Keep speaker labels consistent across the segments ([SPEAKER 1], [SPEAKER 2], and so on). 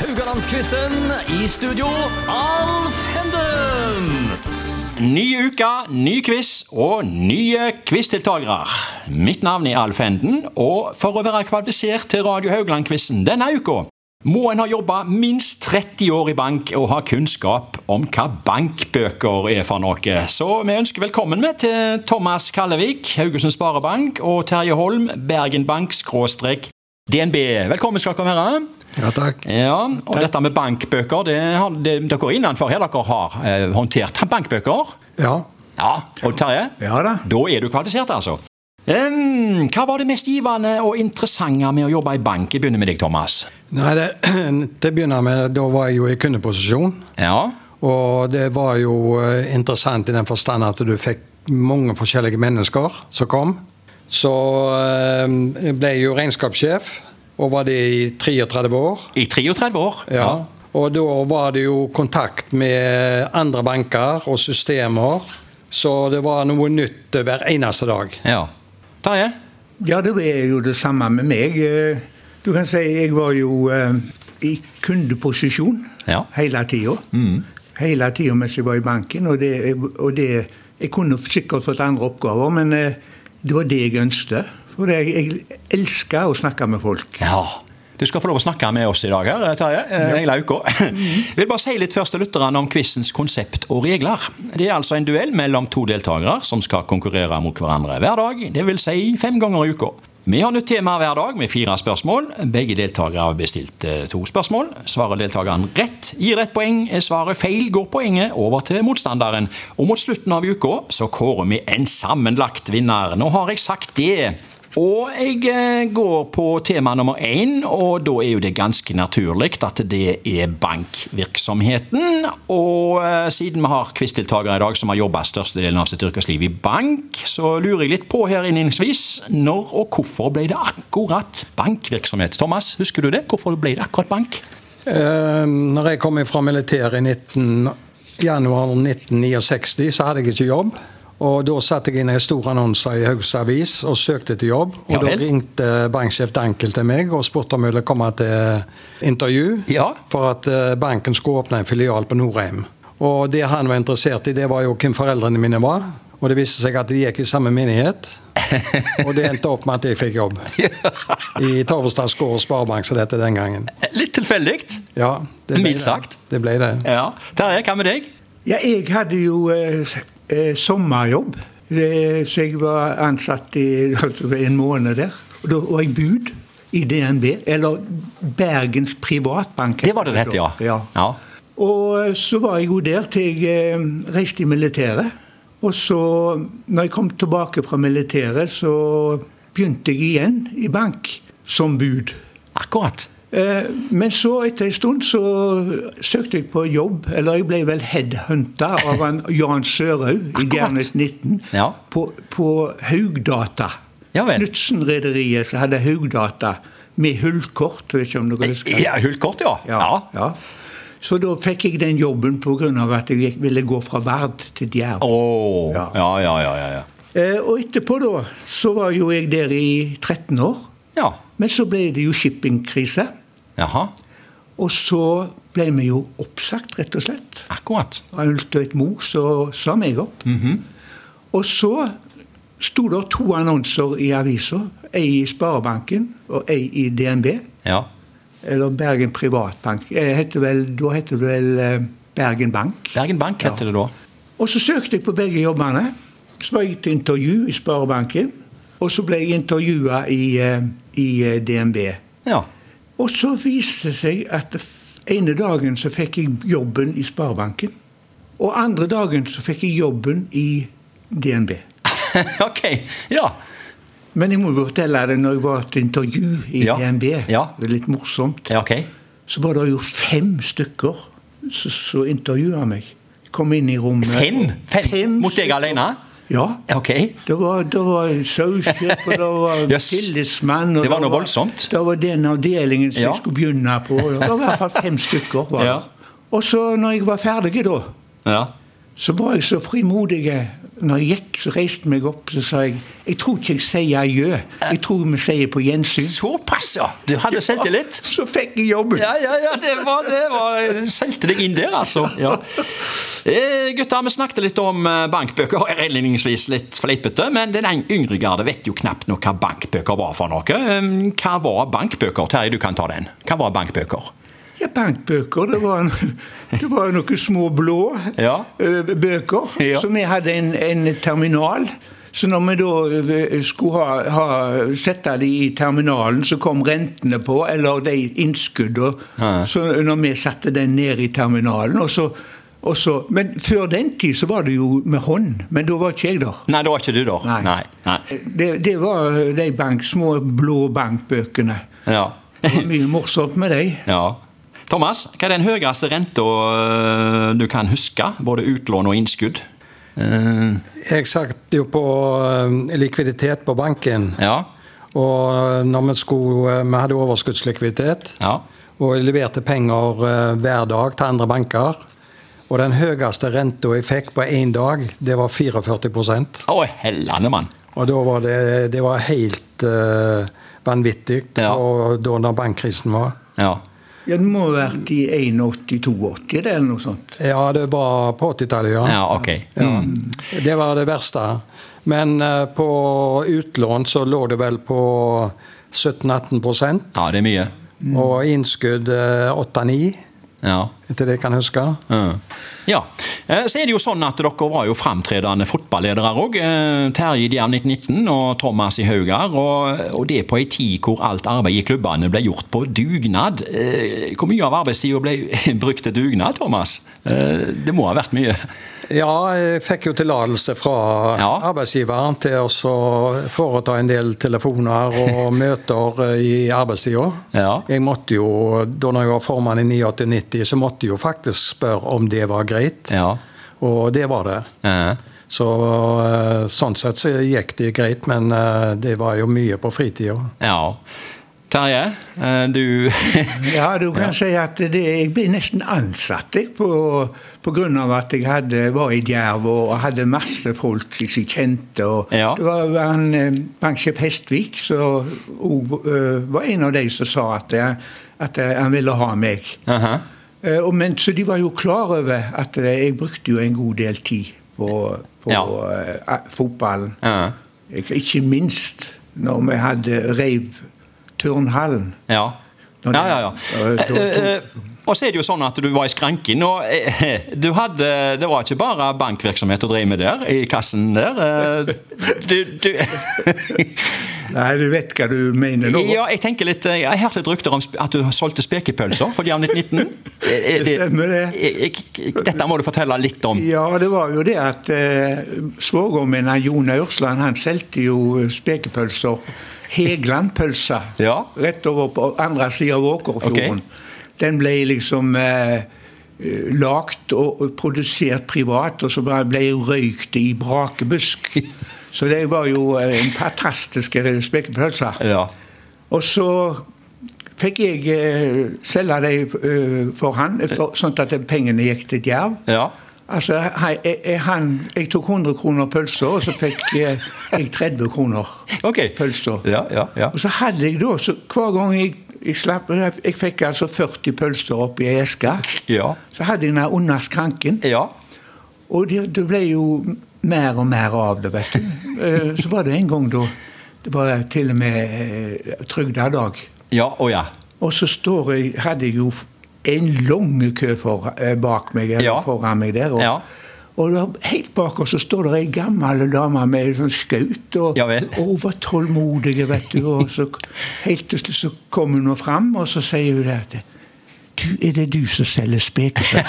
[SPEAKER 1] Haugalandsquizen. I studio, Alf Henden.
[SPEAKER 2] Ny uke, ny quiz og nye quizdeltakere. Mitt navn er Alf Henden, og for å være kvalifisert til Radio Haugland-quizen denne uka, må en ha jobba minst 30 år i bank og ha kunnskap om hva bankbøker er for noe. Så vi ønsker velkommen med til Thomas Kallevik, Haugesund Sparebank, og Terje Holm, Bergen Bank skråstrek DNB. Velkommen skal dere være.
[SPEAKER 3] Ja, takk.
[SPEAKER 2] Ja, og dette med bankbøker, det, har- det, dere er innenfor her dere har eh, håndtert bankbøker.
[SPEAKER 3] Ja.
[SPEAKER 2] Ja, og Terje,
[SPEAKER 3] Ja da.
[SPEAKER 2] da er du kvalifisert, altså. Em, hva var det mest givende og interessante med å jobbe i bank? Jeg begynner med deg, Thomas.
[SPEAKER 3] Nei, det, til å begynne med, da var jeg jo i kundeposisjon.
[SPEAKER 2] Ja,
[SPEAKER 3] Og det var jo eh, interessant i den forstand at du fikk mange forskjellige mennesker som kom. Så eh, jeg ble jo regnskapssjef, og var det i 33 år.
[SPEAKER 2] I 33 år?
[SPEAKER 3] Ja. Og da var det jo kontakt med andre banker og systemer. Så det var noe nytt hver eneste dag.
[SPEAKER 2] ja. Terje?
[SPEAKER 4] Ja, det er jo det samme med meg. Eh, Du kan si jeg var jo eh, i kundeposisjon
[SPEAKER 2] Ja.
[SPEAKER 4] hele tida. Hele tida mens jeg var i banken. Og, det, og det, jeg kunne sikkert fått andre oppgaver, men eh, det var det jeg ønskte. For jeg, jeg elska å snakke med folk.
[SPEAKER 2] Ja. Du skal få lov å snakke med oss i dag, her, Terje. eh, Hele uka. Vil bare si litt først til lytterne om quizens konsept og regler. Det er altså en duell mellom to deltakere som skal konkurrere mot hverandre hver dag, dvs. Si fem ganger i uka. Vi har nytt tema hver dag med fire spørsmål. Begge deltakere har bestilt eh, to spørsmål. Svarer deltakeren rett, gir ett poeng. Er svaret feil, går poenget over til motstanderen. Og mot slutten av uka så kårer vi en sammenlagt vinner. Nå har jeg sagt det. Og jeg eh, går på tema nummer én, og da er jo det ganske naturlig at det er bankvirksomheten. Og eh, siden vi har quizdeltakere i dag som har jobba størstedelen av sitt yrkesliv i bank, så lurer jeg litt på her innledningsvis når og hvorfor ble det akkurat bankvirksomhet? Thomas, husker du det? Hvorfor ble det akkurat bank?
[SPEAKER 3] Eh, Når jeg kom fra militæret i 19, januar 1969, så hadde jeg ikke jobb. Og da satte jeg inn en stor annonse i Hauges Avis og søkte til jobb. Og
[SPEAKER 2] Ja
[SPEAKER 3] da
[SPEAKER 2] vel.
[SPEAKER 3] ringte banksjef Dankel til meg og spurte om jeg ville komme til intervju.
[SPEAKER 2] Ja.
[SPEAKER 3] For at eh, banken skulle åpne en filial på Norheim. Og det han var interessert i, det var jo hvem foreldrene mine var. Og det viste seg at de gikk i samme menighet. Og det endte opp med at jeg fikk jobb. I Torvestads gård sparebank, som det het den gangen.
[SPEAKER 2] Litt tilfeldig.
[SPEAKER 3] Ja, det ble
[SPEAKER 2] Mildt
[SPEAKER 3] det.
[SPEAKER 2] sagt.
[SPEAKER 3] Det ble det.
[SPEAKER 2] Ja. Terje, hva med deg?
[SPEAKER 4] Ja, jeg hadde jo eh, s- eh, sommerjobb, eh, så jeg var ansatt i en måned der. Og da var jeg bud i DNB, eller Bergens Privatbank.
[SPEAKER 2] Det var det det het, ja.
[SPEAKER 4] ja.
[SPEAKER 2] Ja.
[SPEAKER 4] Og eh, så var jeg jo der til jeg eh, reiste i militæret. Og så, når jeg kom tilbake fra militæret, så begynte jeg igjen i bank som bud.
[SPEAKER 2] Akkurat.
[SPEAKER 4] Eh, Men så etter en stund så søkte jeg på jobb, eller jeg ble vel headhunta av han Jan Sørhaug i
[SPEAKER 2] Akkurat.
[SPEAKER 4] Gernet 19
[SPEAKER 2] Ja.
[SPEAKER 4] på, på Haugdata.
[SPEAKER 2] Ja vel.
[SPEAKER 4] Knutsen-rederiet som hadde Haugdata med hullkort. Vet ikke om dere husker det?
[SPEAKER 2] Ja, Hullkort, ja. ja.
[SPEAKER 4] ja. Så da fikk jeg den jobben pga. at jeg gikk- ville gå fra Vard til Djerv.
[SPEAKER 2] Åh.
[SPEAKER 4] Ja.
[SPEAKER 2] ja, ja, ja, ja, ja.
[SPEAKER 4] Eh, Og etterpå, da, så var jo jeg der i 13 år.
[SPEAKER 2] Ja.
[SPEAKER 4] Men så ble det jo shippingkrise.
[SPEAKER 2] Jaha.
[SPEAKER 4] Og så ble vi jo oppsagt, rett og slett.
[SPEAKER 2] Akkurat.
[SPEAKER 4] Av Ultøyt Mo så sa meg opp. Og så sto det to annonser i avisa. Ei i Sparebanken og ei i DNB.
[SPEAKER 2] Ja.
[SPEAKER 4] Eller Bergen Privatbank. Eh, heter vel, da heter det vel eh, Bergen Bank.
[SPEAKER 2] Bergen Bank heter det da.
[SPEAKER 4] Og så søkte jeg på begge jobbene. Så var jeg til intervju i Sparebanken. Og så ble jeg intervjua i, eh, i eh, DNB.
[SPEAKER 2] Ja.
[SPEAKER 4] Og så viste det seg at f- ene dagen så fikk jeg jobben i Sparebanken. Og andre dagen så fikk jeg jobben i DNB.
[SPEAKER 2] ok. Ja.
[SPEAKER 4] Men jeg må jo fortelle det når jeg var til intervju i
[SPEAKER 2] Ja,
[SPEAKER 4] DNB.
[SPEAKER 2] ja.
[SPEAKER 4] Det er litt morsomt.
[SPEAKER 2] ja. Ok.
[SPEAKER 4] Så var det jo fem stykker som som intervjua meg. Kom inn i rommet.
[SPEAKER 2] Fem? Fem? Mot deg
[SPEAKER 4] stykker.
[SPEAKER 2] alene?
[SPEAKER 4] Ja.
[SPEAKER 2] Ok.
[SPEAKER 4] Det var, det var saussjef, og det var
[SPEAKER 2] Jøss.
[SPEAKER 4] tillitsmann og
[SPEAKER 2] Det var noe voldsomt.
[SPEAKER 4] Det var den avdelingen som
[SPEAKER 2] Ja.
[SPEAKER 4] jeg skulle begynne på. Det var i hvert fall fem stykker. Var. det.
[SPEAKER 2] Ja.
[SPEAKER 4] Og så når jeg var ferdig, da,
[SPEAKER 2] Ja.
[SPEAKER 4] Så var jeg så frimodig. Når jeg gikk, så reiste jeg meg opp så sa jeg, jeg tror ikke jeg sier adjø. Jeg tror vi sier på gjensyn.
[SPEAKER 2] Såpass, ja! Du hadde selvtillit.
[SPEAKER 4] Så fikk jeg jobben.
[SPEAKER 2] Ja, ja, ja, det var, det var jeg Sendte deg inn der, altså. Ja. Eh, gutter, vi snakket litt om eh, bankbøker, og redningsvis litt fleipete, men den en- yngre garde vet jo knapt nå hva bankbøker var for noe. Eh, Hva var bankbøker? Terje, du kan ta den. Hva var bankbøker?
[SPEAKER 4] Ja, bankbøker. Det var, en, det var noen små blå
[SPEAKER 2] Ja.
[SPEAKER 4] eh, bøker.
[SPEAKER 2] Ja.
[SPEAKER 4] Så vi hadde en, en terminal. Så når vi da eh, skulle ha, ha sette de i terminalen, så kom rentene på, eller de innskuddene.
[SPEAKER 2] Ja.
[SPEAKER 4] Så når vi satte den ned i terminalen, og så, og så Men før den tid så var det jo med hånd. Men da var ikke jeg der.
[SPEAKER 2] Nei, det var ikke du, da.
[SPEAKER 4] Nei.
[SPEAKER 2] Nei. Nei.
[SPEAKER 4] Det, det var de bank, små blå bankbøkene.
[SPEAKER 2] Ja.
[SPEAKER 4] Det var mye morsomt med de.
[SPEAKER 2] ja. Thomas, hva er den høyeste renta eh, du kan huske? Både utlån og innskudd? Eh,
[SPEAKER 3] Jeg satt jo på eh, likviditet på banken.
[SPEAKER 2] ja.
[SPEAKER 3] Og eh, når vi, skulle, vi hadde overskuddslikviditet
[SPEAKER 2] Ja.
[SPEAKER 3] og leverte penger eh, hver dag til andre banker. Og den høyeste renta jeg fikk på én dag, det var 44
[SPEAKER 2] Å, hellene, mann.
[SPEAKER 3] Og da var det, det var helt eh, vanvittig
[SPEAKER 2] Ja.
[SPEAKER 3] og da når bankkrisen var.
[SPEAKER 2] Ja.
[SPEAKER 4] Ja, Den må ha vært i 81-82 eller noe sånt.
[SPEAKER 3] Ja, det var på 80-tallet, ja.
[SPEAKER 2] ja, ok.
[SPEAKER 3] Ja, Det var det verste. Men eh, på utlån så lå det vel på 17-18
[SPEAKER 2] Ja, det er mye.
[SPEAKER 3] og innskudd eh, 8-9,
[SPEAKER 2] Ja.
[SPEAKER 3] etter det jeg kan huske.
[SPEAKER 2] ja. Eh, Så er det jo sånn at dere var jo framtredende fotballedere òg. Terje i Djerv 1919 og Thomas i Haugar. Og, og det på ei tid hvor alt arbeid i klubbene ble gjort på dugnad. Eh, Hvor mye av arbeidstida ble brukt til dugnad, Thomas? Eh, Det må ha vært mye.
[SPEAKER 3] Ja, jeg fikk jo tillatelse fra
[SPEAKER 2] Ja.
[SPEAKER 3] arbeidsgiveren til å så foreta en del telefoner og møter eh, i arbeidstida.
[SPEAKER 2] Ja.
[SPEAKER 3] Jeg måtte jo, da når jeg var formann i 89-90, så måtte jeg jo faktisk spørre om det var greit.
[SPEAKER 2] Ja.
[SPEAKER 3] Og det var det.
[SPEAKER 2] Eh,
[SPEAKER 3] Så eh, sånn sett så gikk det greit, men eh, det var jo mye på fritida.
[SPEAKER 2] Ja. Terje, eh, du
[SPEAKER 4] Ja, du kan si at det, jeg ble nesten ansatt jeg, på, på grunn av at jeg hadde, var i Djerv og hadde masse folk som jeg kjente. Og
[SPEAKER 2] Ja.
[SPEAKER 4] Det var han, eh, banksjef Hestvik som og, eh, var en av de som sa at, jeg- at eh, han ville ha meg.
[SPEAKER 2] Aha.
[SPEAKER 4] Eh, og, men, så de var jo klar over at eh, jeg brukte jo en god del tid på, på
[SPEAKER 2] Ja.
[SPEAKER 4] eh, a- fotballen.
[SPEAKER 2] Ja.
[SPEAKER 4] Ik- Ikke minst når vi hadde reiv Turnhallen.
[SPEAKER 2] Ja. Ja,
[SPEAKER 4] Når det-
[SPEAKER 2] ja, ja.
[SPEAKER 4] Eh, to- to-
[SPEAKER 2] Eh, eh, Og så er det jo sånn at du var i skranken, og eh, du hadde Det var ikke bare bankvirksomhet å drive med der, i kassen der. eh, Du, du
[SPEAKER 4] Nei, du vet hva du mener nå.
[SPEAKER 2] Ja, jeg tenker litt eh, Jeg har hørt litt rykter om sp- at du solgte spekepølser for Jevn 1919. Eh, eh,
[SPEAKER 4] Det stemmer, det.
[SPEAKER 2] eh, eh, Dette må du fortelle litt om.
[SPEAKER 4] Ja, det var jo det at eh, svogeren min, han Jon Aursland, han solgte jo spekepølser. Hegeland-pølse.
[SPEAKER 2] Ja.
[SPEAKER 4] Rett over på andre sida av Åkerfjorden. Den ble liksom eh, eh, lagt og og produsert privat, og så bare ble jeg røykt i brakebusk. Så det var jo eh, en fantastisk eh, spekepølse.
[SPEAKER 2] Ja.
[SPEAKER 4] Og så fikk jeg eh, selge dem eh, for han, for, sånn at pengene gikk til Djerv.
[SPEAKER 2] Ja.
[SPEAKER 4] Altså, hei, jeg, jeg- han, jeg tok 100 kroner pølser, og så fikk eh, jeg 30 kroner
[SPEAKER 2] Ok.
[SPEAKER 4] pølser.
[SPEAKER 2] Ja, ja, ja.
[SPEAKER 4] Og så hadde jeg da, så hver gang jeg, jeg slapp Jeg jeg fikk altså 40 pølser oppi ei eske.
[SPEAKER 2] Ja.
[SPEAKER 4] Så hadde jeg den her under skranken,
[SPEAKER 2] Ja.
[SPEAKER 4] og det, det ble jo mer og mer av det, vet du. Eh, Så var det en gang da Det var til og med eh, trygdedag.
[SPEAKER 2] Ja, å ja.
[SPEAKER 4] Og så står jeg, hadde jeg jo en lang kø for, eh, bak meg, eller
[SPEAKER 2] Ja.
[SPEAKER 4] foran meg der. Og,
[SPEAKER 2] Ja.
[SPEAKER 4] og da, helt bak oss så står det ei gammel dame med sånn skaut. Og,
[SPEAKER 2] Ja vel.
[SPEAKER 4] og hun var tålmodig, vet du. Og så, helt til slutt så kom hun nå fram, og så sier hun det at du, Er det du som selger spekepølser?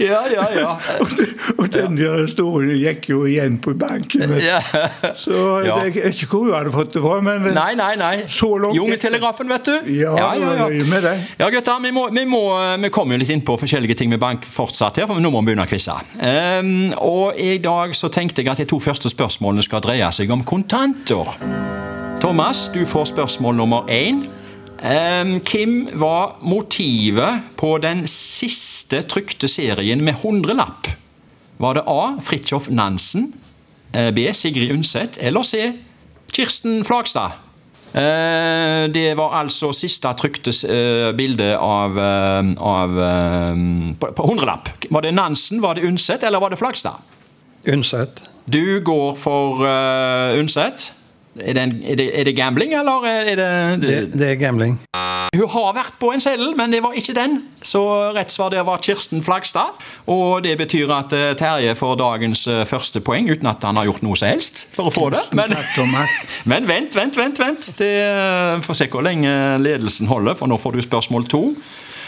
[SPEAKER 2] Ja, ja, ja.
[SPEAKER 4] og, det- og den der historien gikk jo igjen på banken. Vet. du.
[SPEAKER 2] ja.
[SPEAKER 4] Så
[SPEAKER 2] Ja.
[SPEAKER 4] jeg vet ikke hvor hun hadde fått det fra, men
[SPEAKER 2] Nei, nei, nei.
[SPEAKER 4] Så langt-
[SPEAKER 2] Jungeltelegrafen, vet du.
[SPEAKER 4] Ja, nøye med det.
[SPEAKER 2] Ja, gutter, vi, må, vi, må, eh, vi kommer jo litt inn på forskjellige ting med bank fortsatt her, for nå må vi begynne å quize. Ehm, og i dag så tenkte jeg at de to første spørsmålene skal dreie seg om kontanter. Thomas, du får spørsmål nummer én. Ehm, hvem var motivet på den siste første trykte serien med hundrelapp? Var det A. Fridtjof Nansen, eh, B. Sigrid Undset eller C. Kirsten Flagstad? Eh, Det var altså siste trykte eh, bilde av, eh, av eh, på, på hundrelapp. Var det Nansen, var det Undset eller var det Flagstad?
[SPEAKER 3] Undset.
[SPEAKER 2] Du går for eh, Undset. Er det, en, er, det, er det gambling, eller er det,
[SPEAKER 3] Det, det er gambling.
[SPEAKER 2] Hun har vært på en seddel, men det var ikke den. Så rett svar der var Kirsten Flagstad. Og det betyr at eh, Terje får dagens eh, første poeng, uten at han har gjort noe som helst for å få det. Men,
[SPEAKER 4] Takk, Thomas.
[SPEAKER 2] men vent, vent, vent. vent. Det eh, får se hvor lenge ledelsen holder, for nå får du spørsmål to.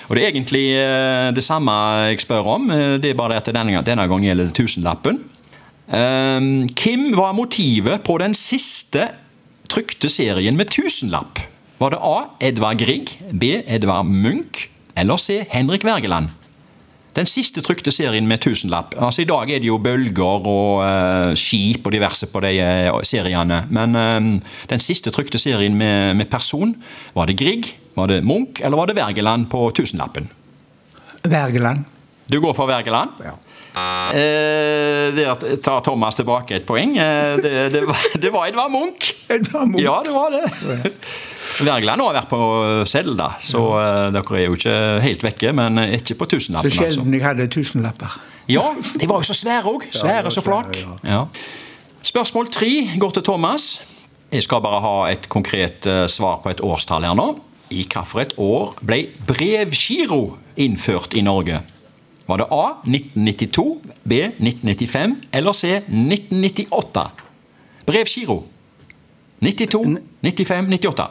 [SPEAKER 2] Og det er egentlig eh, det samme jeg spør om, eh, det er bare det at denne, gang- denne gangen gjelder det tusenlappen. Ehm, Hvem var motivet på den siste trykte serien med tusenlapp? Var det A. Edvard Grieg, B. Edvard Munch eller C. Henrik Wergeland? Den siste trykte serien med tusenlapp. Altså I dag er det jo bølger og eh, skip og diverse på de eh, seriene. Men eh, den siste trykte serien med, med person, var det Grieg, var det Munch eller var det Wergeland på tusenlappen?
[SPEAKER 4] Wergeland.
[SPEAKER 2] Du går for Wergeland?
[SPEAKER 4] Ja.
[SPEAKER 2] Eh, der tar Thomas tilbake et poeng. Eh, det, det, var, det var Edvard Munch!
[SPEAKER 4] Edvard Munch.
[SPEAKER 2] Ja, det var det. Wergeland har vært på seddel, da, så eh, dere er jo ikke helt vekke. Men eh, ikke på
[SPEAKER 4] Så
[SPEAKER 2] tusenlappen, altså.
[SPEAKER 4] sjelden jeg hadde tusenlapper.
[SPEAKER 2] Ja, de var jo så svære òg. Svære så flak. Ja. Spørsmål tre går til Thomas. Jeg skal bare ha et konkret eh, svar på et årstall her nå. I hvilket år ble brevgiro innført i Norge? Var det A 1992, B 1995 eller C 1998? Brevgiro. 92, 95, 98.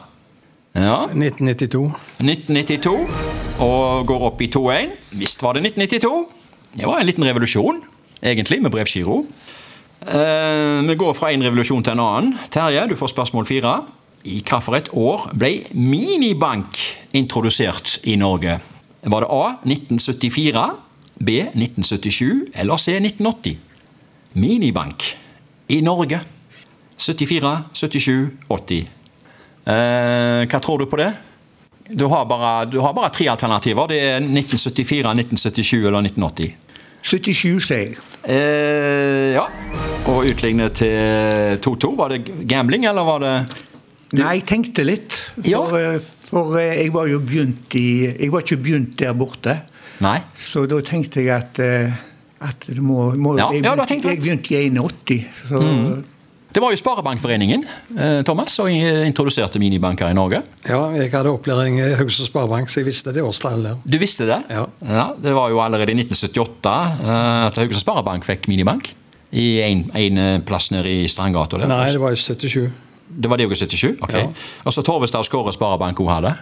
[SPEAKER 2] Ja.
[SPEAKER 3] 1992.
[SPEAKER 2] 1992 og går opp i 2-1. Visst var det 1992. Det var en liten revolusjon, egentlig, med brevgiro. Eh, vi går fra en revolusjon til en annen. Terje, du får spørsmål fire. I hvilket år ble minibank introdusert i Norge? Var det A 1974, B 1977 eller C 1980? Minibank i Norge. 74, 77, 80. Eh, hva tror du på det? Du har, bare, du har bare tre alternativer. Det er 1974, 1977 eller 1980.
[SPEAKER 4] 77, sier jeg.
[SPEAKER 2] Eh, ja. Og utlignet til 2-2. Var det gambling, eller var det
[SPEAKER 4] Nei, jeg tenkte litt.
[SPEAKER 2] Ja.
[SPEAKER 4] For, eh, for eh, jeg var jo begynt i Jeg var ikke begynt der borte.
[SPEAKER 2] Nei.
[SPEAKER 4] Så da tenkte jeg at, eh, at det må, må
[SPEAKER 2] Ja,
[SPEAKER 4] jeg,
[SPEAKER 2] ja, du har
[SPEAKER 4] begynte-
[SPEAKER 2] tenkt litt. Mm.
[SPEAKER 4] jeg begynte i 81, så
[SPEAKER 2] Det var jo Sparebankforeningen eh, Thomas, som introduserte minibanker i Norge.
[SPEAKER 3] Ja, jeg hadde opplæring i Haugesund Sparebank, så jeg visste det årstallet der.
[SPEAKER 2] Du visste det?
[SPEAKER 3] Ja.
[SPEAKER 2] Det var jo allerede i 1978 eh, at Haugesund Sparebank fikk minibank. I en, en eh, plass nede i Strandgata. der.
[SPEAKER 3] Nei, det var i 77.
[SPEAKER 2] Det var det også i 77? Ok.
[SPEAKER 3] Ja.
[SPEAKER 2] Og så Torvestad Skåre Sparebank hun hadde.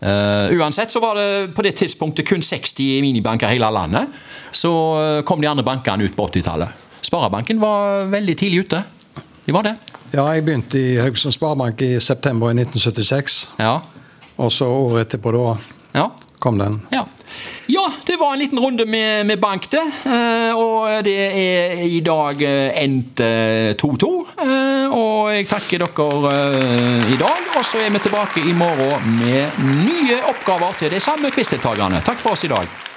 [SPEAKER 2] Eh, uansett så var det på det tidspunktet kun 60 minibanker i hele landet. Så eh, kom de andre bankene ut på 80-tallet. Sparebanken var veldig tidlig ute. De var det.
[SPEAKER 3] Ja, jeg begynte i Haugesund Sparebank i september i 1976.
[SPEAKER 2] Ja.
[SPEAKER 3] Og så året etterpå, da
[SPEAKER 2] Ja.
[SPEAKER 3] kom den.
[SPEAKER 2] Ja. ja, det var en liten runde med, med bank, det. Eh, Og det er i dag eh, endt eh, 2-2. Eh, Og jeg takker dere eh, i dag. Og så er vi tilbake i morgen med nye oppgaver til de samme quizdeltakerne. Takk for oss i dag.